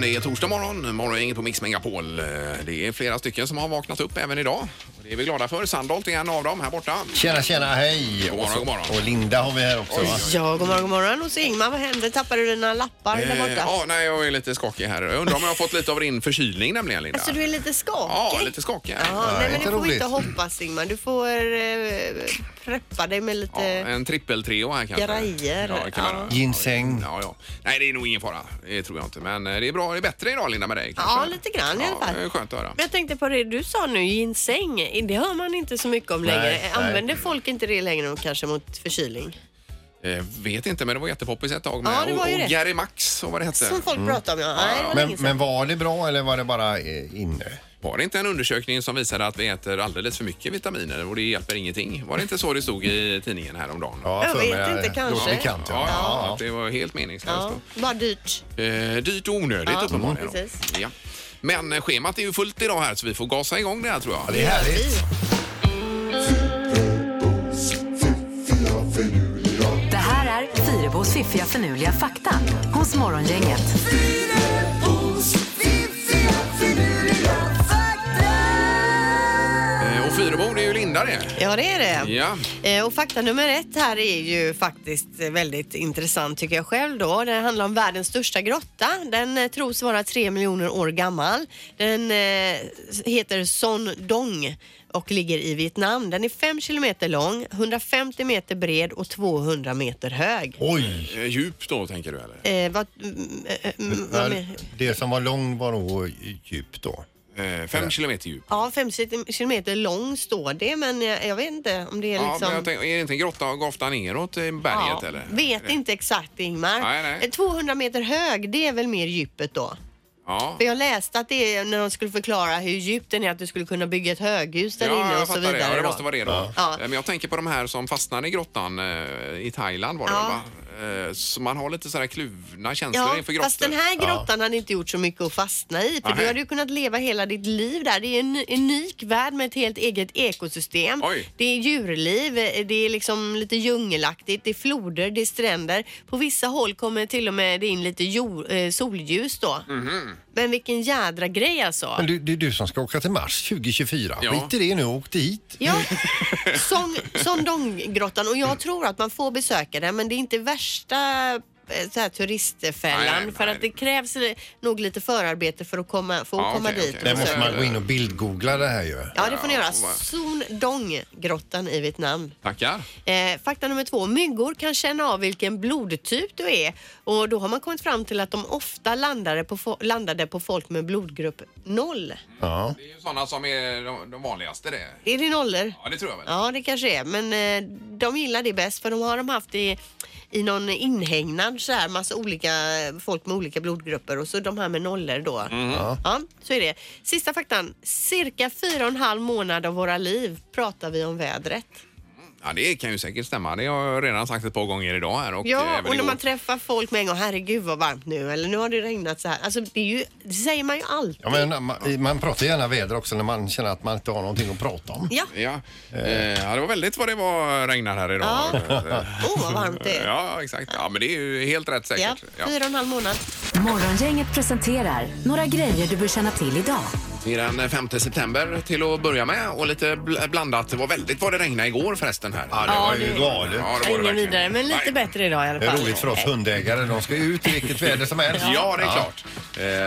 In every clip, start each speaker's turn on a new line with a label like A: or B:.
A: Det är torsdag morgon, morgongänget på Mix Megapol. Eh, Det är flera stycken som har vaknat upp även idag. Och Det är vi glada för. Sandholt är en av dem här borta.
B: Tjena, tjena, hej!
A: God morgon, god morgon.
B: Och Linda har vi här också. Va?
C: Ja, god morgon, god morgon. Och så Ingmar, vad händer? Tappade du dina lappar där
A: Eh,
C: borta?
A: Ja, nej, jag är lite skakig här. Jag undrar om jag har fått lite av din förkylning nämligen, Linda.
C: Alltså du är lite skakig?
A: Ja, lite skakig.
C: Ja,
B: Nej,
C: nej, men
B: inte
C: du får
B: roligt.
C: inte hoppas Ingmar. Du får eh, preppa dig med
A: Ja,
C: lite...
A: en trippeltrio här kanske.
C: Grejer.
A: Ja, det kan man-
B: Ginseng.
A: Ja, ja. Nej, det är nog ingen fara. Det tror jag inte. Men eh, det är bra. Det är bättre idag, Linda, med dig.
C: Ja, lite grann i alla fall.
A: det är Skönt att höra.
C: Men jag tänkte på det du sa nu, ginseng. Det hör man inte så mycket om
B: Nej,
C: längre.
B: nej.
C: Använder folk inte det längre och kanske mot förkylning?
A: Eh, vet inte, men det var jättepoppis ett tag. Med,
C: Ja, det var ju
A: och, och
C: det.
A: Gary Max och vad det hette.
C: Som folk pratar om ja. Nej, det var
B: Mm. Men,
C: länge sedan.
B: men var det bra eller var det bara eh, inne?
A: Var det inte en undersökning som visade att vi äter alldeles för mycket vitaminer och det hjälper ingenting? Var det inte så det stod i tidningen häromdagen?
B: Ja,
C: Jag
B: för
C: vet
B: mig är
C: inte,
B: det
C: kanske.
B: Låter bekant, ja.
A: Ja, ja,
B: Ja,
A: att det var helt meningslöst.
C: Ja, bara dyrt.
A: då. Eh, dyrt och onödigt
C: Ja,
A: uppenbarligen. då.
C: precis.
A: Ja. Men eh, schemat är ju fullt idag här så vi får gasa igång det här tror
B: ja.
A: jag.
B: Det är härligt.
D: Det här är Fyrabos fiffiga förnuliga fakta hos Morgongänget.
A: Eh, och Fyrebo, det är ju Linda det.
C: Ja, det är det.
A: Ja.
C: Eh, Och fakta nummer ett här är ju faktiskt eh, väldigt intressant tycker jag själv då. Det handlar om världens största grotta. Den eh, tros vara tre miljoner år gammal. Den eh, heter Son Dong och ligger i Vietnam. Den är fem kilometer lång, 150 meter bred och 200 meter hög.
B: Oj!
A: Eh, djup då tänker du eller?
C: Eh, vad, mm, eh, mm, vad
B: Ja,
C: mer?
B: Det som var lång var nog djup då.
A: Eh, fem kilometer djup.
C: Ja, 50 kilometer lång står det, men jag, jag vet inte om det är
A: Ja,
C: liksom...
A: men jag tänker, är det inte en grotta gofta neråt i berget
C: Ja,
A: eller?
C: Vet inte exakt Ingmar.
A: Nej, nej.
C: Eh, 200 meter hög, det är väl mer djupet då?
A: Ja.
C: För jag läste att det är när de skulle förklara hur djup den är att du skulle kunna bygga ett höghus där
A: Ja,
C: inne
A: jag
C: och så
A: fattar
C: vidare.
A: det. Ja, det
C: då.
A: måste vara det då.
C: Ja.
A: Eh, Men jag tänker på de här som fastnade i grottan eh, i Thailand var det
C: Ja.
A: väl, va? Eh, Så man har lite sådär kluvna känslor
C: Ja,
A: inför grottor.
C: fast den här grottan hade inte gjort så mycket att fastna i för
A: Nähä.
C: du hade ju kunnat leva hela ditt liv där. Det är en unik värld med ett helt eget ekosystem.
A: Oj.
C: Det är djurliv, eh, det är liksom lite djungelaktigt, det är floder, det är stränder. På vissa håll kommer till och med det in lite jord, eh, solljus då.
A: Mhm.
C: Men vilken jädra grej alltså.
B: Men du, det är du som ska åka till Mars 2024.
A: Ja.
B: Skit i det nu och åk dit.
C: Ja, Song, Sondonggrottan och jag tror att man får besöka den men det är inte värsta eh, så här, turistfällan
A: Nej, nej,
C: för
A: nej.
C: att det krävs eh, nog lite förarbete för att komma, få
A: Ja,
C: komma
A: okej,
C: dit.
A: okej.
C: och
B: Där måste
C: besöka.
B: man gå in och bildgoogla det här ju.
C: Ja, det får ni
A: Ja,
C: göra.
A: får man.
C: Sondonggrottan i Vietnam.
A: Tackar.
C: Eh, fakta nummer två. Myggor kan känna av vilken blodtyp du är och då har man kommit fram till att de ofta landade på, fo- landade på folk med blodgrupp 0.
B: Ja.
A: Det är ju sådana som är de, de vanligaste det.
C: Är det nollor?
A: Ja, det tror jag väl.
C: Ja, det kanske är. Men eh, de gillar det bäst för de har de haft i, i någon inhägnad så här massa olika folk med olika blodgrupper och så de här med nollor då.
A: Mm.
C: Ja. så är det. Sista faktan. Cirka fyra och en halv månad av våra liv pratar vi om vädret.
A: Ja, det kan ju säkert stämma. Det har jag redan sagt ett par gånger idag här och eh,
C: Ja,
A: även
C: och när
A: igår.
C: man träffar folk med en gång. Herregud vad varmt nu eller nu har det regnat så här. Alltså det, är ju, det säger man ju alltid.
B: Ja, men eh, man, man pratar gärna väder också när man känner att man inte har någonting att prata om.
C: Ja,
A: Ja. Eh, ja, det var väldigt vad det var regnar här idag.
C: Ja.
A: Eh,
C: åh vad varmt det är.
A: ja, exakt. Ja, men det är ju helt rätt
C: Ja,
A: säkert. Ja.
C: fyra och en halv månad.
D: Morgongänget presenterar några grejer du bör känna till idag.
A: Det är den 5 september till att börja med och lite bl- blandat. Det var väldigt vad det regnade igår förresten här.
B: Ja, det var ju galet.
A: Ja, det var det
C: Ingen
A: verkligen.
C: vidare, men lite
A: Nej.
C: bättre idag i alla
B: Det är
C: fall.
B: roligt för oss hundägare. De ska ut i vilket väder som helst.
A: Ja, det är klart.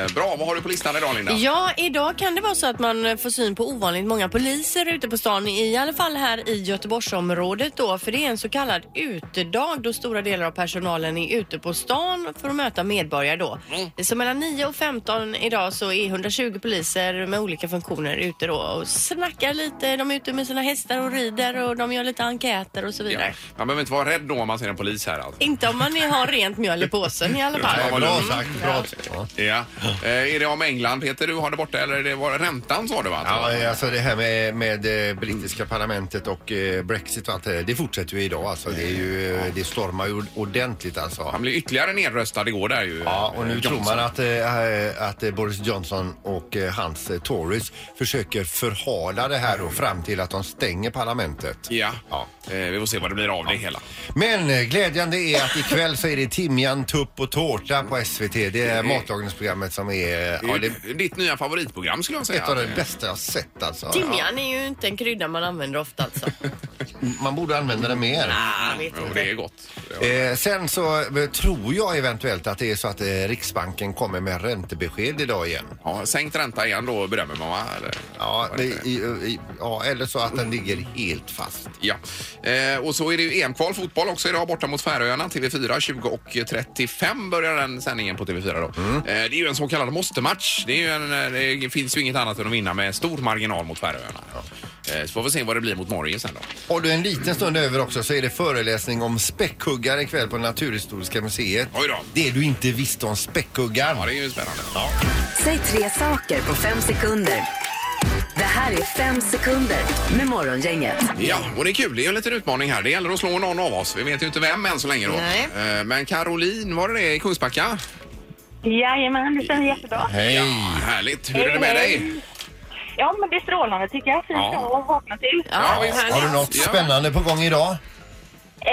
A: Eh, bra, vad har du på listan idag Linda?
C: Ja, idag kan det vara så att man får syn på ovanligt många poliser ute på stan. I alla fall här i Göteborgsområdet då. För det är en så kallad utedag då stora delar av personalen är ute på stan för att möta medborgare då. Så mellan 9 och 15 idag så är 120 poliser med olika funktioner ute då och snackar lite. De är ute med sina hästar och rider och de gör lite enkäter och så vidare.
A: Man behöver inte vara rädd då om man ser en polis här alltså.
C: Inte om man har rent mjöl i påsen i alla fall.
B: Nej,
A: vad
B: bra
A: lugnt.
B: sagt. Bra. Ja.
A: Ja. Eh, är det om England Peter du har det borta eller är det var räntan sa du va?
B: Ja, alltså det här med, med eh, brittiska parlamentet och eh, Brexit och allt det där, det fortsätter ju idag alltså. Det, är ju, eh, det stormar ju ordentligt alltså.
A: Han blev ytterligare nedröstad igår där ju.
B: Ja, och nu
A: Johnson.
B: tror man att, eh, att eh, Boris Johnson och eh, hans eh, Tories försöker förhala det här då fram till att de stänger parlamentet.
A: Ja, Eh, vi får se vad det blir av det hela.
B: Men eh, glädjande är att ikväll så är det timjan, tupp och tårta på SVT. Det är matlagningsprogrammet programmet som är...
A: Det är
B: Ja, det
A: ju
B: är
A: Eh, ditt nya favoritprogram skulle jag säga. Eh,
B: ett av de bästa jag har sett alltså.
C: Timjan är ju inte en krydda man använder ofta alltså.
B: Man borde använda det mer.
C: ah, vet
A: Jo,
C: inte.
A: det är gott.
B: Eh, sen så eh, tror jag eventuellt att det är så att eh, Riksbanken kommer med räntebesked idag igen.
A: Ja, sänkt ränta igen då bedömer man va? Eller?
B: Ja,
A: Vad
B: det,
A: är
B: i, eh, i, ja, eller så att den ligger helt fast.
A: Ja, eh, och så är det ju EM-kval fotboll också idag borta mot Färöarna. TV4 20.35 börjar den sändningen på TV4 då. Eh, det är ju en så kallad måste-match. Det, är ju en, eh, det finns ju inget annat än att vinna med stor marginal mot Färöarna. Eh, så får vi se vad det blir mot Norge sen då.
B: Har du en liten stund över också så är det föreläsning om späckhuggare ikväll på Naturhistoriska museet.
A: Oj då.
B: Det du inte visste om späckhuggaren.
A: Ja, det är ju spännande.
D: Säg tre saker på fem sekunder. Det här är fem sekunder med Morgongänget.
A: Ja, och det är kul. Det är ju en liten utmaning här. Det gäller att slå någon av oss. Vi vet ju inte vem än så länge då.
C: Nej.
A: Eh, Men Caroline, var det det i Kungsbacka?
E: Jajamän, det känns
A: Mm.
E: jättebra.
B: Hej!
A: Ja, härligt. Hur är det med dig?
E: Ja, men det är strålande tycker jag. Fin
A: Ja.
E: dag att vakna till.
A: Ja,
C: Ja,
A: visst.
C: härligt.
B: Har du något
A: Ja.
B: spännande på gång idag?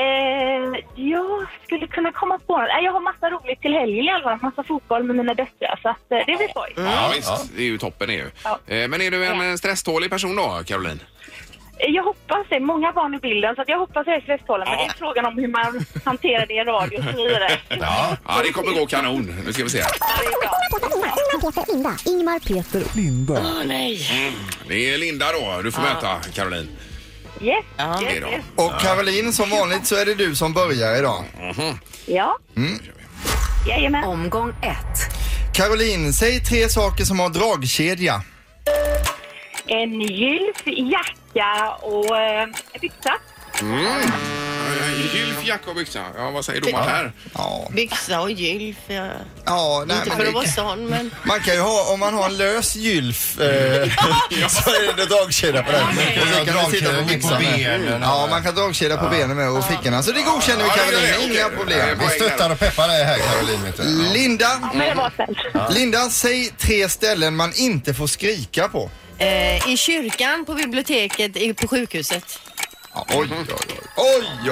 E: Eh, jag skulle kunna komma på något. Nej, Jag har massa roligt till helgen i alla fall. Massa fotboll med mina döttrar, så att, eh, det blir skoj.
A: Ja, visst.
B: Ja.
A: Det är ju toppen det är ju.
E: Ja.
A: Eh, Men är du en eh, stresstålig person då, Caroline?
E: Eh, Jag hoppas det. Många barn i bilden, så att jag hoppas jag är stresstålig. Men
A: Ja.
E: det är frågan om hur man hanterar det i radio och så vidare.
B: Ja.
A: Ja, det kommer gå kanon. Nu ska vi se.
E: Ja, det är bra.
F: Ingmar, Peter, Linda. Ingmar, Peter,
C: Åh, nej.
A: Det är Linda då. Du får möta Caroline.
E: Yes,
C: Ja.
A: Det är
E: yes,
A: då.
E: yes.
G: Och Caroline, som vanligt så är det du som börjar idag.
E: Ja.
A: Mm.
E: Jajamän.
D: Omgång ett.
G: Caroline, säg tre saker som har dragkedja.
E: En gylf, jacka och eh, byxa.
A: Eh, Gylf, jacka och byxa. Ja, vad säger domaren här?
G: Ja,
C: Byxa och gylf. Ja.
G: ja nej,
C: Inte
G: men
C: för att
G: det-
C: vara sån, men...
G: Man kan ju ha, om man har en lös gylf eh, så är det dragkedja på den.
C: Okej.
G: Och så kan
B: Ja,
G: du sitta
B: dragkedja
G: på
B: på
G: byxan med.
B: benen.
G: Ja, man kan dragkedja på benen med och fickorna. Så det godkänner vi
A: Ja, det är det.
G: Caroline, inga
A: Okej.
G: problem.
B: Vi
A: Ja,
B: stöttar och peppar dig här Caroline. Vet du.
G: Linda,
E: Men det var snällt.
G: Linda, säg tre ställen man inte får skrika på.
C: Eh, I kyrkan, på biblioteket, i- på sjukhuset.
G: Ja, oj, oj, oj. oj, oj.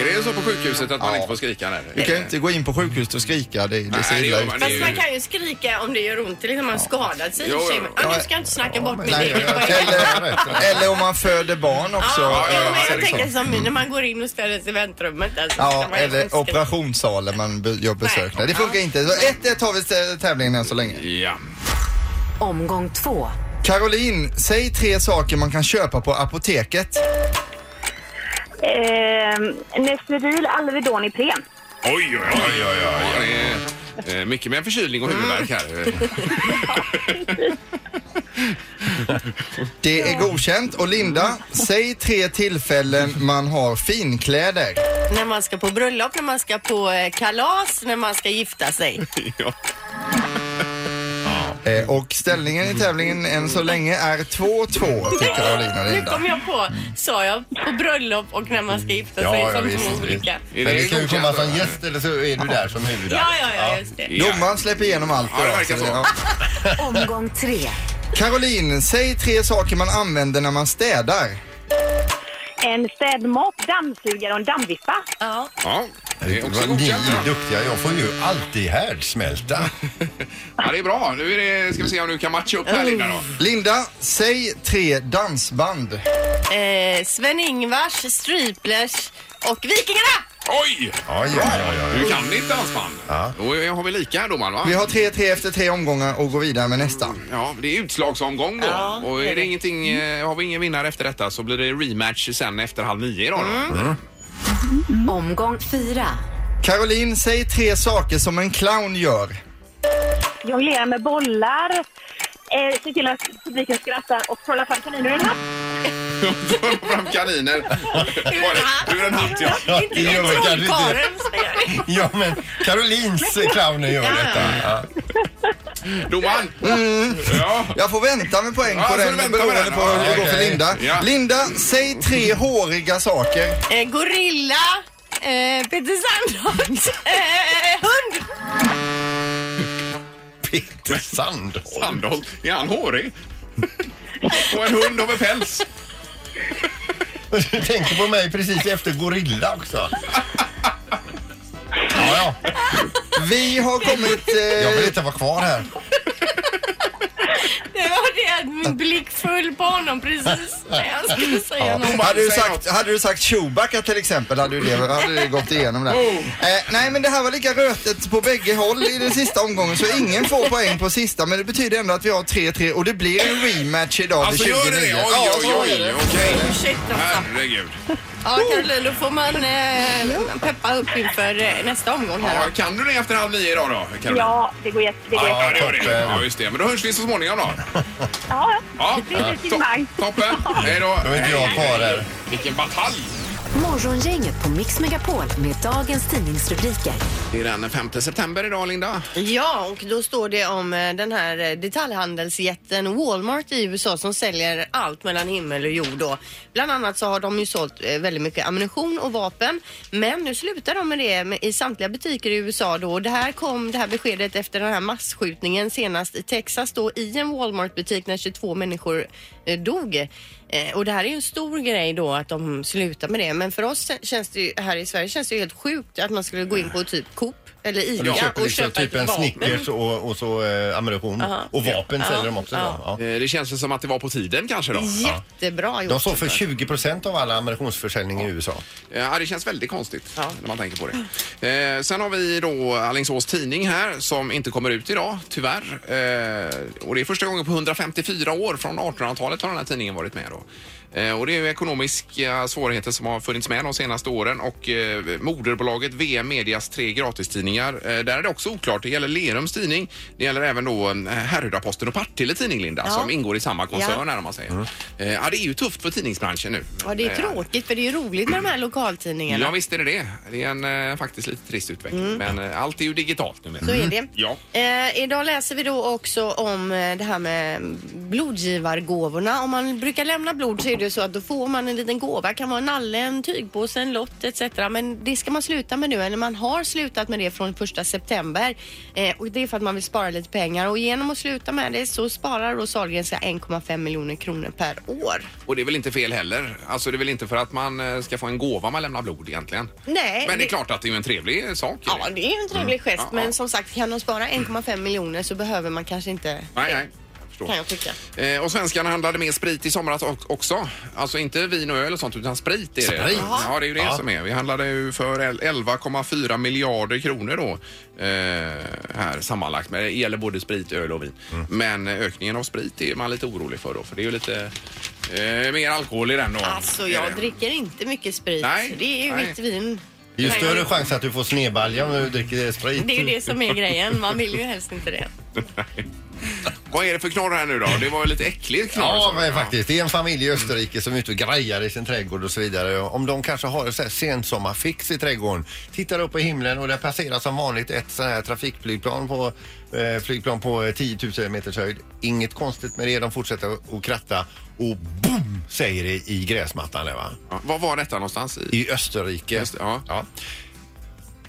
A: Är det så på sjukhuset att man
G: Ja.
A: inte får skrika där?
G: Du kan ju inte gå in på sjukhuset och skrika. Det, det ser
A: Nej, det
G: illa
A: gör
G: ut.
A: man
C: Fast man
A: inte.
C: kan ju skrika om det gör ont, eller om man skadat sig.
A: Jo,
C: Jo,
A: jo, jo.
C: ja, nu ska jag inte snacka bort mitt
G: Nej,
C: eget. Vad är det?
G: eller, eller om man föder barn också.
C: Ja,
A: ja,
C: men
A: ja,
C: jag
A: det är
C: tänker som när man går in och ställer sig i väntrummet. Alltså,
G: Ja,
C: kan man ju
G: eller
C: skrika.
G: operationssalen man be- gör besök där. Det funkar inte. Så 1-1 har vi eh, tävlingen än så länge.
A: Ja.
D: Omgång två.
G: Caroline, säg tre saker man kan köpa på apoteket.
E: Eh, Nestvedil Alvedon i pren.
A: Oj, oj, oj, oj, oj. Ja, det är, eh, mycket med förkylning och huvudvärk här.
G: Det är godkänt. Och Linda, säg tre tillfällen man har finkläder.
C: När man ska på bröllop, när man ska på eh, kalas, när man ska gifta sig.
A: Ja.
G: Eh, Och ställningen i tävlingen än så länge är 2-2 till Caroline och
C: Nu
G: Linda.
C: kom jag på, sa jag, på bröllop och när man ska gifta sig
B: Ja, ja,
C: Alltså, som
B: visst,
C: två
B: visst.
C: olika.
A: Är
B: Men du kan ju
A: godkänt,
B: komma som
A: eller?
B: gäst eller så är du där som huvud.
C: Ja, ja, ja, just det.
A: Ja.
G: Domaren släpper igenom allt.
A: Ja, det
G: idag,
A: verkar
G: så
A: så.
G: ja.
D: Omgång tre.
G: Caroline, säg tre saker man använder när man städar.
E: En städmopp, dammsugare och en dammvippa.
C: Ja.
A: Ja, det är också
B: Ni
A: godkänt.
B: är duktiga. Jag får ju alltid härdsmälta.
A: Ja, det är bra. Nu är det, ska vi se om du kan matcha upp här, Linda. Då.
G: Linda, säg tre dansband.
C: Eh, Sven-Ingvars, Stryplers och Vikingarna!
A: Oj!
B: Ja, ja, ja, ja.
A: Du kan ditt dansband. Då är- har vi lika här, domaren, va?
G: Vi har 3-3 efter tre omgångar och går vidare med nästa.
A: Ja, det är utslagsomgång då.
C: Ja,
A: och
C: det
A: är
C: är
A: det
C: det.
A: ingenting, eh, har vi ingen vinnare efter detta så blir det rematch sen efter halv nio idag. Då.
D: Omgång fyra.
G: Caroline, säg tre saker som en clown gör.
E: Jonglerar med bollar. Eh, se till att publiken skrattar och trollar fram kaniner ur en hatt.
A: För fram kaniner. Var det-
C: hatt.
A: Ur en hatt, ja.
C: Inte
B: det gör
C: det
B: vi kanske inte.
C: trollkarlen som gör det.
B: Ja, men Carolines clowner gör detta. Ja.
A: Domaren! Ja.
G: Jag får vänta med poäng
A: Ja,
G: på
A: får
G: den
A: du vänta med
G: beroende
A: den.
G: på hur det
B: Ja,
G: går för
B: okej.
G: Linda.
A: Ja.
G: Linda, säg tre håriga saker.
C: Eh, gorilla, eh, Peter Sandholt, eh, hund.
B: Peter Sandholt.
A: Sandholt, är han hårig? Och en hund över päls.
B: Du tänker på mig precis efter Gorilla också. Ja, ja.
G: Vi har kommit...
H: Jag
G: Eh,
H: vill inte vara kvar här.
C: Det var det att min blick föll på honom precis när jag skulle säga något.
G: hade, du
A: Säg
G: sagt, hade du sagt Chewbacca till exempel hade, du det, hade det gått igenom där.
A: Oh.
G: Eh, nej men det här var lika rötet på bägge håll i den sista omgången så ingen får poäng på sista men det betyder ändå att vi har 3-3 och det blir en rematch idag
A: Alltså
G: vid 29.
A: gör det det? Oj,
G: Ja,
A: oj,
G: så är
A: oj,
G: det.
A: okej.
C: Ursäkta.
A: Herregud.
C: Ja, Caroline, då får man eh, peppa upp inför eh, nästa omgång här.
A: Ja,
C: då.
A: kan du det efter halv nio idag då, Caroline?
E: Ja, det går jätte... Det går
A: Ja,
E: jätte.
A: det gör det. Ja, just det. Men då hörs vi så småningom då.
E: Ja,
A: Ja.
E: det blir lite
A: To-
E: maj.
A: Toppen. Hej då.
H: Då är inte jag kvar här.
A: Vilken batalj!
D: Morgongänget på Mix Megapol med dagens tidningsrubriker.
A: Det är den 5 september idag, Linda.
C: Ja, och då står det om eh, den här eh, detaljhandelsjätten Walmart i USA som säljer allt mellan himmel och jord. Då. Bland annat så har de ju sålt eh, väldigt mycket ammunition och vapen. Men nu slutar de med det med- i samtliga butiker i USA då. Och det här kom det här beskedet efter den här massskjutningen senast i Texas då i en Walmart-butik när 22 människor eh, dog. Eh, Och det här är ju en stor grej då att de slutar med det. Men för oss känns det ju, här i Sverige känns det ju helt sjukt att man skulle gå in på typ Coop eller Ica
B: Du köper liksom typ en Snickers och, och så eh, ammunition. Och vapen säljer de också idag. Ja.
A: Eh, Det känns väl som att det var på tiden kanske då?
C: Jättebra gjort.
B: De står för 20 procent av alla ammunitionsförsäljning i USA.
A: Eh, Ja, det känns väldigt konstigt när man tänker på det. Eh, sen har vi då Alingsås tidning här som inte kommer ut idag, tyvärr. Eh, och det är första gången på 154 år, från 1800-talet har den här tidningen varit med då. Eh, och det är ju ekonomiska svårigheter som har funnits med de senaste åren och eh, moderbolaget VM Medias tre gratistidningar. Eh, där är det också oklart. Det gäller Lerums tidning. Det gäller även då eh, Härryda-Posten och Partille tidning, Linda, som ingår i samma koncern här om man säger. Eh, ja, det är ju tufft för tidningsbranschen nu.
C: Ja, det är
A: Eh,
C: tråkigt för det är ju roligt med de här lokaltidningarna.
A: Ja, visst är det det. Det är en eh, faktiskt lite trist utveckling. Men eh, allt är ju digitalt nu.
C: Mm. Så är det.
A: Ja.
C: Eh, idag läser vi då också om eh, det här med blodgivargåvorna. Om man brukar lämna blod så är det ju så att då får man en liten gåva. kan vara en nalle, en tygpåse, en lott etc. Men det ska man sluta med nu, eller man har slutat med det från 1 september. Eh, och det är för att man vill spara lite pengar och genom att sluta med det så sparar då Sahlgrenska 1,5 miljoner kronor per år.
A: Och det är väl inte fel heller. Alltså det är väl inte för att man eh, ska få en gåva man lämnar blod egentligen.
C: Nej,
A: Men det är
C: det-
A: klart att det är ju en trevlig sak. är
C: Ja,
A: det.
C: det är ju en trevlig gest,
A: Mm. Ja, ja.
C: men som sagt, kan de spara 1,5 miljoner så behöver man kanske inte
A: Nej, nej.
C: kan
A: Förstår.
C: jag tycka.
A: Eh, och svenskarna handlade mer sprit i somras o- också. Alltså inte vin och öl och sånt utan sprit är det.
B: Sprit?
A: Ja, det är ju det som är. Vi handlade ju för el- 11,4 miljarder kronor då eh, här sammanlagt. Men det gäller både sprit, öl och vin.
B: Mm.
A: Men eh, ökningen av sprit är man lite orolig för då för det är ju lite eh, mer alkohol i den då. Eh,
C: Alltså,
A: Är det.
C: jag dricker inte mycket sprit.
A: Nej,
C: det är ju
A: nej.
C: vitt vin.
B: Det är ju
C: Nej,
B: större
C: jag-
B: chans att du får snebalja om du dricker sprit.
C: Det är ju det som är grejen. Man vill ju helst inte det.
A: Vad är det för knorr här nu då? Det var ju lite äckligt knorr.
B: Ja,
A: sa du.
B: men faktiskt. Det är en familj i Österrike som är ute och grejar i sin trädgård och så vidare. Om de kanske har ett så här sensommarfix i trädgården, tittar upp i himlen och där passerar som vanligt ett sånt här trafikflygplan på eh, flygplan på eh, 10 000 meters höjd. Inget konstigt med det. De fortsätter att kratta och boom säger det i gräsmattan. Där, va?
A: Ja. Vad var detta någonstans? I?
B: I Österrike.
A: Just det, ja.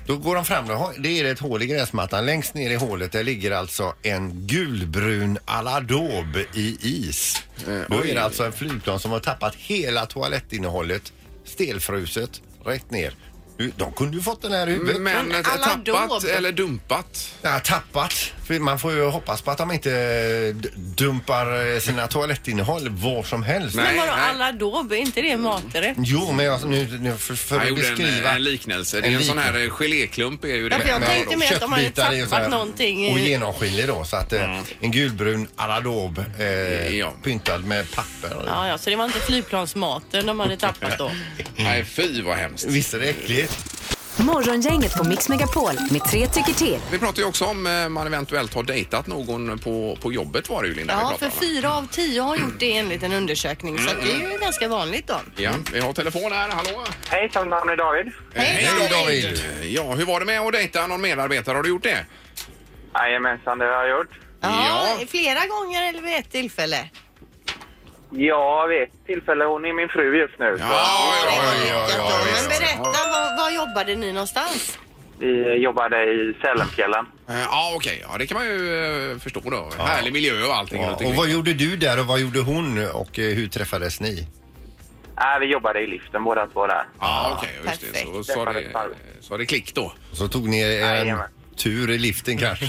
B: Då går de fram, då- det är ett hål i gräsmattan. Längst ner i hålet där ligger alltså en gulbrun aladåb i is.
A: Eh,
B: Då är det alltså en flygplan som har tappat hela toalettinnehållet, stelfruset, rätt ner. Nu- De kunde ju fått den här i huvudet.
A: Men eh,
C: alla
A: tappat
C: dåb.
A: eller dumpat?
B: Ja, tappat. För man får ju hoppas på att de inte eh, d- dumpar eh, sina toalettinnehåll var som helst.
A: Nej,
C: Men vadå
A: nej.
C: aladåb? Är inte det maträtt?
B: Jo, men jag, nu, nu för, för
A: Jag
B: att
A: gjorde en,
B: beskriva.
A: en liknelse. Det är
B: En
A: en sån
B: liknelse.
A: här eh, geléklump är ju
C: Ja, för jag
A: det.
B: Men
C: tänkte
B: vadå,
C: mer att de hade
B: köttbitar är ju så
C: tappat
B: här-
C: någonting i-
B: Och genomskinlig då. Så att eh, en gulbrun aladåb eh,
A: Mm. Ja.
B: pyntad med papper.
C: Ja, ja, så det var inte flygplansmaten de hade tappat då.
A: Nej, fy vad hemskt.
B: Visst är det äckligt?
D: Morgongänget på Mix Megapol med tre tycker till.
A: Vi pratade ju också om eh, man eventuellt har dejtat någon på, på jobbet var det ju Linda vi
C: Ja, för
A: pratade om.
C: fyra av tio har gjort det enligt en undersökning. Så att det är ju
A: Mm.
C: ganska vanligt då.
A: Ja, vi har telefon här, hallå?
I: Hejsan, namn är David.
A: Hej,
B: David.
A: Ja, hur var det med att dejta någon medarbetare? Har du gjort det?
I: Jajamensan, det har jag gjort.
C: Ja,
A: Ja.
C: flera gånger eller vid ett tillfälle.
I: Ja, vid ett tillfälle. Hon är min fru just nu.
B: Oj, oj, oj.
C: Men berätta, var, var jobbade ni någonstans?
I: Vi jobbade i Sälenfjällen.
A: Eh, Ja, okej. Ja, det kan man ju eh, förstå då. Härlig miljö och allting.
B: Ja,
A: runt
B: och
A: omkring.
B: vad gjorde du där och vad gjorde hon och eh, hur träffades ni?
I: Nej, Äh, vi jobbade i liften båda två där.
A: Ja, okej. just det. Så, så, har det,
I: Perfekt.
A: så har det klick då.
B: Så tog ni er en,
I: Jajamän.
B: tur i liften kanske.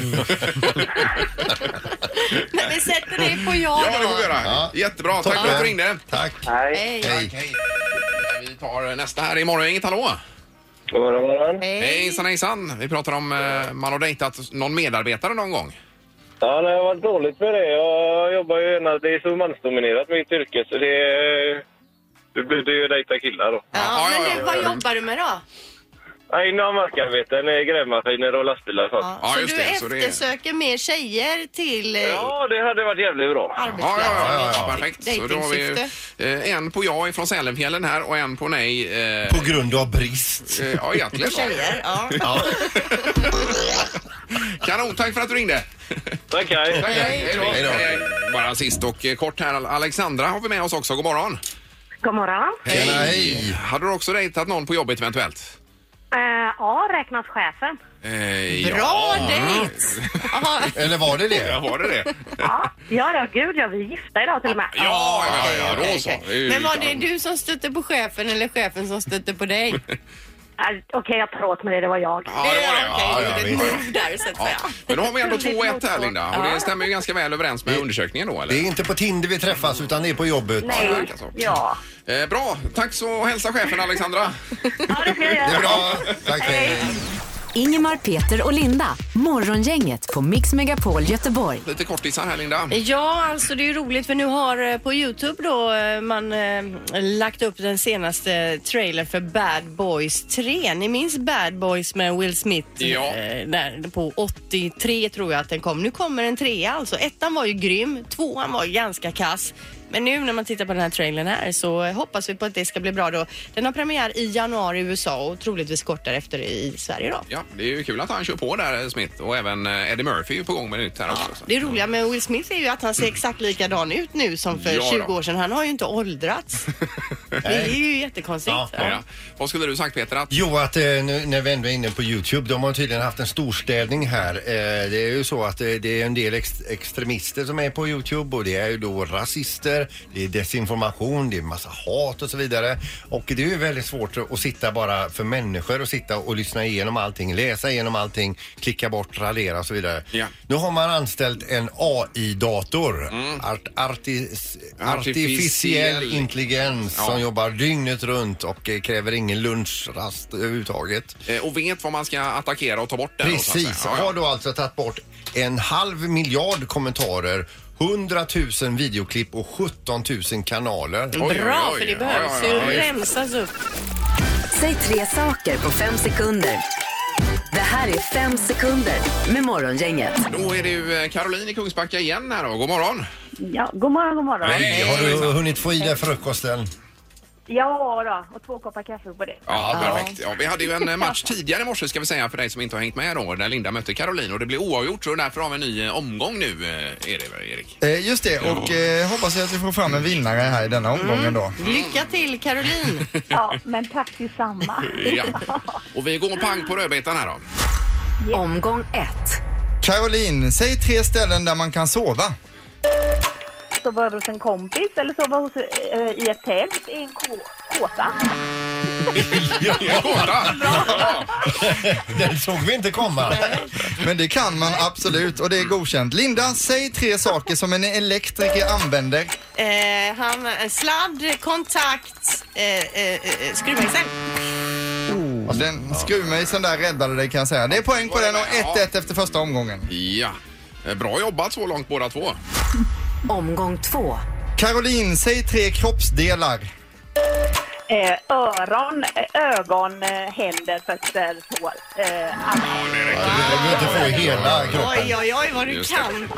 C: Men vi sätter det på ja
A: Ja, det får vi
C: då.
A: göra.
B: Ja.
A: Jättebra. Tack för att du
B: Toppen.
A: ringde.
B: Tack.
I: Nej.
C: Hej.
B: Hej.
A: Vi tar nästa här imorgon. Inget hallå?
I: God morgon, morgon.
A: Hejsan, hejsan. Vi pratar om eh, man har dejtat någon medarbetare någon gång.
I: Ja, det har varit dåligt med det. Jag jobbar ju gärna... Det är så mansdominerat mitt yrke, så det... Det blir det ju att dejta killar då.
C: Ja,
A: Ja, ja,
C: men
A: ja,
C: du, vad jobbar du med då?
I: Ja, inom markarbeten, eh, grävmaskiner och lastbilar och sånt.
C: Ja,
A: Ja,
C: så
A: just
C: du
A: det, så det är-
C: eftersöker mer tjejer till eh,
I: Ja, det hade varit jävligt bra.
A: Ja, ja,
C: arbetsplatsen?
A: ja, ja,
B: Ja, ja.
A: perfekt. Så då har vi ju, eh, en på ja ifrån Sälenfjällen här och en på nej. Eh,
B: På grund av brist.
A: eh, ja, egentligen.
C: Tjejer, ja.
B: Ja.
A: Kanon, tack för att du ringde.
I: Tack, hej.
A: Tack, hej då.
B: Hej då.
A: Hej, hej. Bara sist och eh, kort här. Alexandra har vi med oss också. God morgon.
E: God morgon.
B: Hej. Hej.
A: Hade du också dejtat någon på jobbet eventuellt?
E: Eh, ja, räknas chefen.
A: Eh,
C: Bra
A: ja.
C: dejt! Jaha.
B: Eller var det det?
A: Ja, var det det?
E: Ja, ja, ja gud, ja, vi är gifta idag till och med.
A: Ja, ja, ja, då
C: Okej,
A: så.
C: okej.
A: Det är ju
C: Men var det
A: kanon.
C: du som stötte på chefen eller chefen som stötte på dig?
E: Eh, Okej, jag tar åt mig det. Det var jag.
A: Ja, det var det.
C: Okej,
A: Ja,
C: du
A: ja,
C: gjorde
A: visst.
C: ett move där så att säga.
A: Men då har vi ändå
E: Otroligt
A: 2-1 här
E: motstånd.
A: Linda och det
E: Ja.
A: stämmer ju ganska väl överens med undersökningen då
B: Det är
A: eller?
B: inte på Tinder vi träffas utan det är på jobbet.
E: Nej.
A: verkar så.
E: Ja.
A: Eh, bra, tack så hälsa chefen Alexandra.
E: ja, det ska jag
B: Det är
E: göra.
B: bra. Tack hej.
D: Ingemar, Peter och Linda. Morgongänget på Mix Megapol Göteborg.
A: Lite kortisar här Linda.
C: Ja, alltså det är ju roligt för nu har eh, på Youtube då eh, man eh, lagt upp den senaste trailern för Bad Boys 3. Ni minns Bad Boys med Will Smith?
A: Ja.
C: eh, Där, på 83 tror jag att den kom. Nu kommer en trea alltså. Ettan var ju grym, tvåan var ju ganska kass. Men nu när man tittar på den här trailern här så eh, hoppas vi på att det ska bli bra då. Den har premiär i januari i USA och troligtvis kort därefter i Sverige då.
A: Ja, det är ju kul att han kör på där Smith och även eh, Eddie Murphy är ju på gång med nytt här också. så.
C: Det roliga med Will Smith är ju att han ser exakt likadan ut nu som för
A: Mm. Ja då.
C: 20 år sedan. Han har ju inte åldrats. Det är ju jättekonstigt.
B: Ja,
A: Ja. Vad skulle du sagt Peter? Att...
B: Jo, att eh, nu, när vi ändå är inne på Youtube, de har tydligen haft en storstädning här. Eh, det är ju så att eh, det är en del ex extremister som är på Youtube och det är ju då rasister, det är desinformation, det är massa hat och så vidare. Och det är ju väldigt svårt att sitta bara för människor och sitta och lyssna igenom allting, läsa igenom allting, klicka bort, radera och så vidare.
A: Ja.
B: Nu har man anställt en AI-dator, art artis
A: Artificiell
B: artificiell intelligens,
A: Ja.
B: som jobbar dygnet runt och eh, kräver ingen lunchrast överhuvudtaget.
A: eh, Och vet vad man ska attackera och ta bort där. då, så att
B: Precis,
A: säga. Ja,
B: har då alltså tagit bort en halv miljard kommentarer 100 000 videoklipp och 17 000 kanaler.
A: Oj, oj,
C: Bra,
A: oj.
C: för det
A: Ja,
C: behövs
A: ja, ja,
C: ju
A: visst.
C: rensas upp.
D: Säg tre saker på fem sekunder. Det här är fem sekunder med Morgongänget.
A: ja. Då är det ju eh, Caroline i Kungsbacka igen här då. God morgon.
E: Ja, god morgon, god morgon.
A: Hej.
B: Har du hunnit få i dig frukosten?
E: Ja då, och två koppar kaffe på det.
A: Ja, perfekt. Ja, vi hade ju en eh, match tidigare i morse ska vi säga för dig som inte har hängt med då, där Linda mötte Caroline och det blev oavgjort så därför har vi en ny eh, omgång nu, eh, är det väl, Erik?
G: Eh, just det, och eh, hoppas jag att vi får fram en vinnare här i denna
A: Mm.
G: omgången då.
C: Lycka till Caroline!
E: Ja, men tack detsamma.
A: Ja. Och vi går pang på rödbetan här då.
D: Omgång ett.
G: Caroline, säg tre ställen där man kan sova.
E: Sova över hos en kompis eller sova hos, eh, i ett tält i en kå- kåta.
A: Ja, kåta. Ja.
B: Den såg vi inte komma.
G: Men det kan man absolut och det är godkänt. Linda, säg tre saker som en elektriker använder.
C: Eh, han, eh, sladd, kontakt, eh, eh, eh, skruvmejsel.
G: Och Den skruvmejseln där räddade dig kan jag säga. Det är poäng på den och 1-1 efter första omgången.
A: ja. Eh, Bra jobbat så långt båda två.
D: Omgång två.
G: Caroline, säg tre kroppsdelar.
E: Eh, öron, eh, ögon, eh, händer, fötter, tår. Eh, allt.
B: Du vill inte få i hela kroppen.
C: Oj, oj, oj vad du
A: Just det.
C: kan!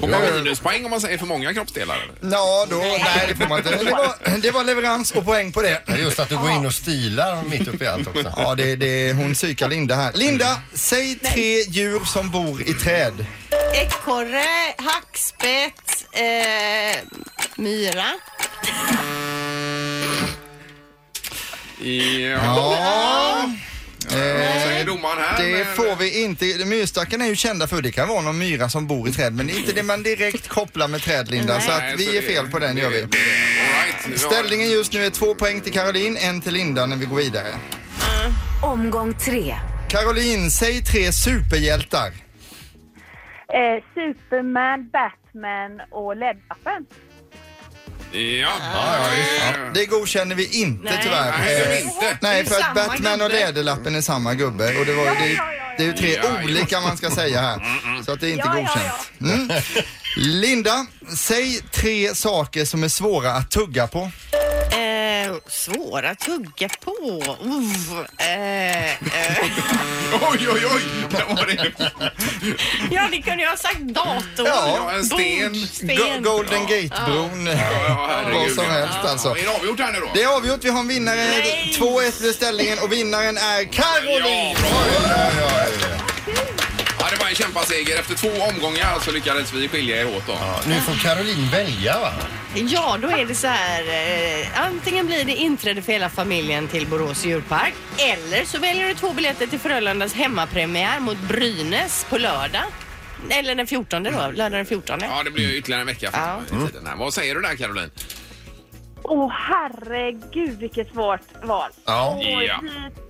A: Får man minuspoäng om man säger för många kroppsdelar? eller?
G: Ja, då, nej det får man inte. Men Det var, det var leverans och poäng på det.
B: Men Just att du går in och stilar mitt uppe i allt också.
G: Ja, det, det, hon psykar Linda här. Linda, säg tre djur som bor i träd.
C: Ekorre, hackspett, eh, myra.
A: Ja.
G: Ja,
A: Vad säger domaren här?
G: det
A: Men-
G: får vi inte. Myrstacken är ju kända för det kan vara någon myra som bor i träd men det är inte det man direkt kopplar med träd Linda så
A: Nej,
G: att vi
A: så
G: ger
A: det-
G: fel på den gör vi.
A: det- All right. Vi har-
G: Ställningen just nu är två poäng till Caroline, en till Linda när vi går vidare.
D: Omgång tre.
G: Caroline, säg tre superhjältar.
E: Eh, Superman, Batman och Ledbappen.
A: Ja, ja, ja.
G: Det godkänner vi inte
C: Nej.
G: tyvärr.
A: Nej,
G: Eh,
A: det är inte.
G: Nej,
C: Det är
G: för att
C: samma
G: Batman och
C: gubbe.
G: Läderlappen är samma gubbe. Och det, var, det, är ju- det är ju tre
A: Ja, ja. Mm,
G: olika man ska säga här. Så att det är inte
E: Ja, ja,
G: godkänt. Mm. Linda, säg tre saker som är svåra att tugga på.
C: Eh, svåra att tugga på. Uff, eh, eh.
A: Oj, oj, oj! Där var det.
C: Ja, det kunde jag ha sagt. Dator.
G: Ja,
A: en sten.
C: Bord,
G: Go-
C: sten.
G: Golden Gate-bron.
A: Ja, herregud.
G: Vad som helst alltså.
A: Ja, Är det avgjort här nu då?
G: Det är avgjort, vi har en vinnare. 2-1 blir ställningen och vinnaren är
A: Ja,
G: Caroline!
A: bra. Ja, det var en kämpaseger. Efter två omgångar så lyckades vi skilja er åt. Då.
B: Ja, nu får Caroline välja va?
C: Ja, då är det så här. Eh, antingen blir det inträde för hela familjen till Borås djurpark eller så väljer du två biljetter till Frölundas hemmapremiär mot Brynäs på lördag. Eller den 14 då, lördag den 14.
A: Ja, det blir ju ytterligare en vecka
C: Ja.
A: för tiden
G: Mm.
A: här. Vad säger du där Caroline?
E: Åh herregud vilket svårt val.
B: Ja.
E: Åh,
A: Ja.
E: shit.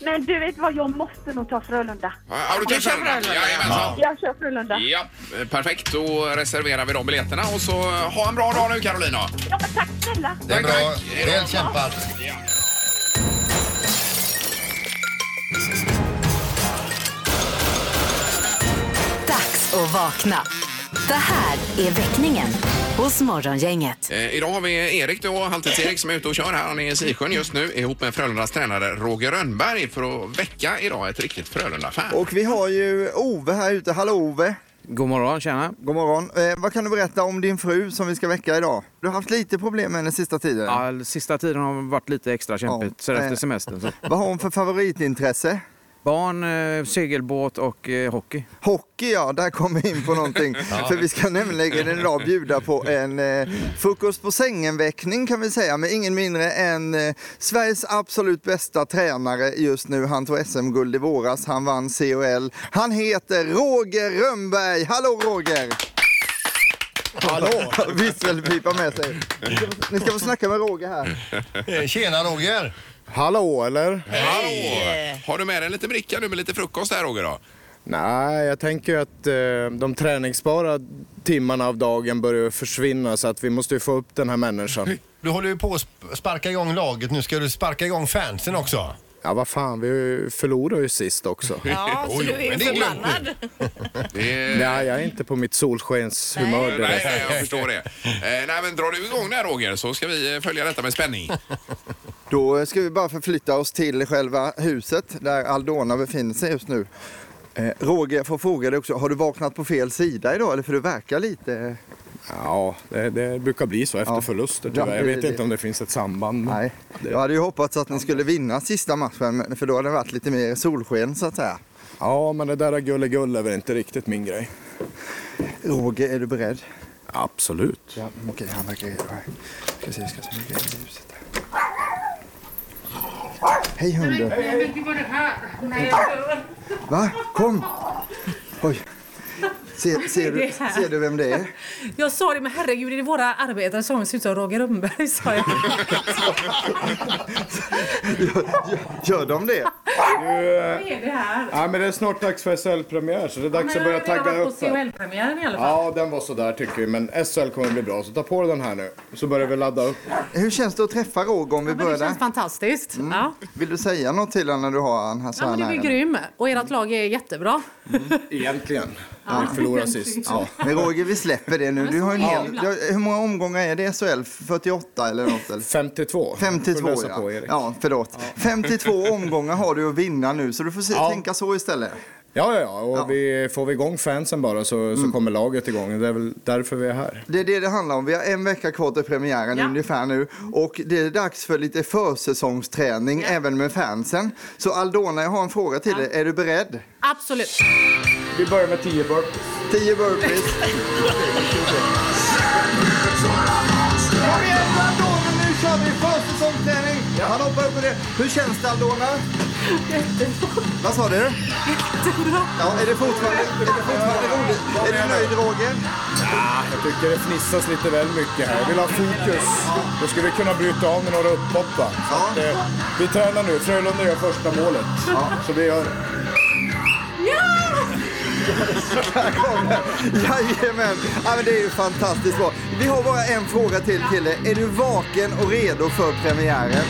E: Men du vet vad, jag måste nog ta Frölunda.
A: Har du
C: Du kör
A: träffat honom?
C: Frölunda,
A: Jajamensan.
E: Jag kör Frölunda.
A: Ja, perfekt. Då reserverar vi de biljetterna och så ha en bra dag nu Caroline. då.
E: Ja, men tack snälla.
B: Det är
A: Tack,
B: bra.
A: tack. Hej då.
B: Väl kämpat.
D: Dags att vakna. Det här är väckningen hos Morgongänget.
A: Eh, idag har vi Erik då, Halvtids-Erik som är ute och kör här. Han är i Sisjön just nu ihop med Frölundas tränare Roger Rönnberg för att väcka idag ett riktigt Frölunda-fan.
G: Och vi har ju Ove här ute. Hallå Ove!
H: God morgon, tjena.
G: God morgon. Eh, vad kan du berätta om din fru som vi ska väcka idag? Du har haft lite problem med henne sista tiden.
H: Ja, sista tiden har varit lite extra kämpigt,
G: Ja,
H: så efter
G: eh.
H: semestern. Så.
G: Vad har hon för favoritintresse?
H: Barn, eh, segelbåt och eh, hockey.
G: Hockey ja, där kommer vi in på någonting. För vi ska nämligen idag bjuda på en eh, frukost på sängen-väckning kan vi säga. Med ingen mindre än eh, Sveriges absolut bästa tränare just nu. Han tog SM-guld i våras, han vann COL. Han heter Roger Rönnberg. Hallå Roger! Hallå! Visselpipa med sig. Ni ska få- Ni ska få snacka med Roger här.
B: Eh, Tjena Roger!
J: Hallå eller?
A: Hallå! Har du med dig en liten bricka nu med lite frukost här Roger då?
J: Nej, jag tänker ju att eh, de träningsbara timmarna av dagen börjar försvinna så att vi måste ju få upp den här människan.
B: Du håller ju på att sp- sparka igång laget. Nu ska du sparka igång fansen också.
J: Ja, vad fan, vi förlorade ju sist också.
C: Ja, så Alltså, du är ju
B: men det är lugnt nu.
C: förbannad.
A: Det är...
J: Nej, jag är inte på mitt solskenshumör
A: Nej,
J: direkt.
A: nej, jag förstår det. Eh, nej, men drar du igång där Roger så ska vi eh, följa detta med spänning.
G: Då ska vi bara förflytta oss till själva huset där Aldona befinner sig just nu. Eh, Roger, jag får fråga dig också, har du vaknat på fel sida idag? Eller för du verkar lite...
J: Ja, det, det brukar bli så efter
G: Ja.
J: förluster
G: Ja,
J: tyvärr. Jag
G: det-
J: vet
G: det-
J: inte om det finns ett samband. men-
G: Nej. Jag hade ju hoppats att ni skulle vinna sista matchen, men- för då hade det varit lite mer solsken så att säga.
J: Ja, men det där gullegull är väl inte riktigt min grej.
G: Roger, är du beredd?
J: Absolut.
G: Ja, okej, han verkar redo. här. Ska se, jag ska se om det är i ljuset där. Hej hunden! Jag vill inte vara här. Va? Kom! Oj. Ser, ser, du, ser du vem det är?
K: Jag sa det, men herregud, är det våra arbetare som ser ut som Roger Rönnberg? Sa jag.
G: Gör de det?
K: Vad är det här?
J: Nej, eh, men det är snart dags för SL-premiär så det är dags att börja
K: Jag har
J: tagga
K: varit
J: upp.
K: på
J: här.
K: CHL-premiären i alla fall.
J: Ja, den var sådär tycker vi, men SL kommer bli bra. Så ta på dig den här nu, så börjar vi ladda upp.
G: Hur känns det att träffa Roger om vi
K: Men det
G: börjar där?
K: känns fantastiskt.
J: Mm.
K: Ja.
G: Vill du säga något till honom när du har han här så
K: Ja,
G: här
K: men du är
G: nära?
K: grym och ert lag är jättebra.
J: Mm. Egentligen. Ja. Vi förlorade sist. Ja.
G: Men Roger, vi släpper det nu. Du har en
K: Ja.
G: hel... ja, Hur många omgångar är det i SHL? 48 eller något? Eller?
J: 52.
G: 52
J: Läsa
G: ja.
J: på, Erik. ja.
G: ja, förlåt. 52 omgångar har du att vinna nu så du får se,
J: Ja.
G: tänka så istället.
J: Ja, ja, Och Vi, får vi igång fansen bara så, så kommer laget igång. Det är väl därför vi är här.
G: Det är det det handlar om. Vi har en vecka kvar till premiären
K: Ja.
G: ungefär nu och det är dags för lite försäsongsträning även med fansen. Så Aldona, jag har en fråga till dig. Är du beredd?
K: Absolut.
J: Vi börjar med 10 burpees.
G: 10 burpees. Kom igen Aldona, nu kör vi försäsongsträning! Ja, han hoppar upp och det. Hur känns det Aldona? Jättebra. Vad sa du? Jättebra. Ja, är det fortfarande, är det fortfarande roligt? Är du nöjd Roger?
J: Ja, jag tycker det fnissas lite väl mycket här. Jag vill ha fokus. Då skulle vi kunna bryta av med några upphopp va? Så att, eh, vi tränar nu. Frölunda gör första målet. Så vi gör...
G: Här kommer. Jajamän. Ja, men det är ju fantastiskt bra. Vi har bara en fråga till Kille. Är du vaken och redo för premiären?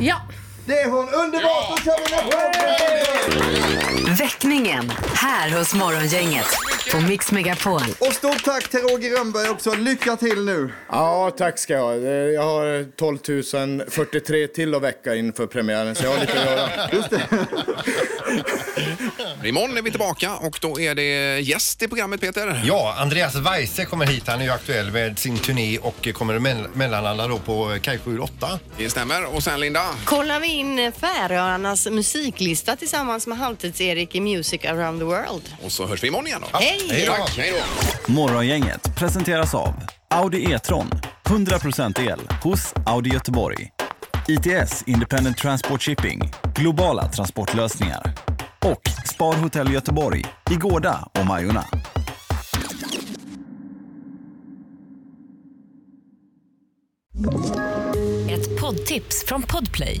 K: Ja.
G: Det är hon. Underbart! Då kör vi en applåd!
D: Väckningen här hos Morgongänget på Mix Megapol.
G: Och stort tack till Roger Rönnberg också. Lycka till nu!
J: Ja, tack ska jag ha. Eh, Jag har 12 043 till att väcka inför premiären, så jag har lite att göra.
A: Imorgon är vi tillbaka och då är det gäst i programmet Peter.
B: Ja, Andreas Weise kommer hit. Han är ju aktuell med sin turné och kommer mell- mellanlanda då på eh, Kaj 8.
A: Det stämmer. Och sen Linda?
C: Kollar vi in Färöarnas musiklista tillsammans med Halvtids-Erik i Music around the world.
A: Och så hörs vi imorgon igen då.
C: Hej! Hej då.
A: Tack, hej då!
L: Morgongänget presenteras av Audi E-tron. 100% el hos Audi Göteborg. ITS Independent Transport Shipping. Globala transportlösningar. Och Spar Hotel Göteborg i Gårda och Majorna.
M: Ett poddtips från Podplay.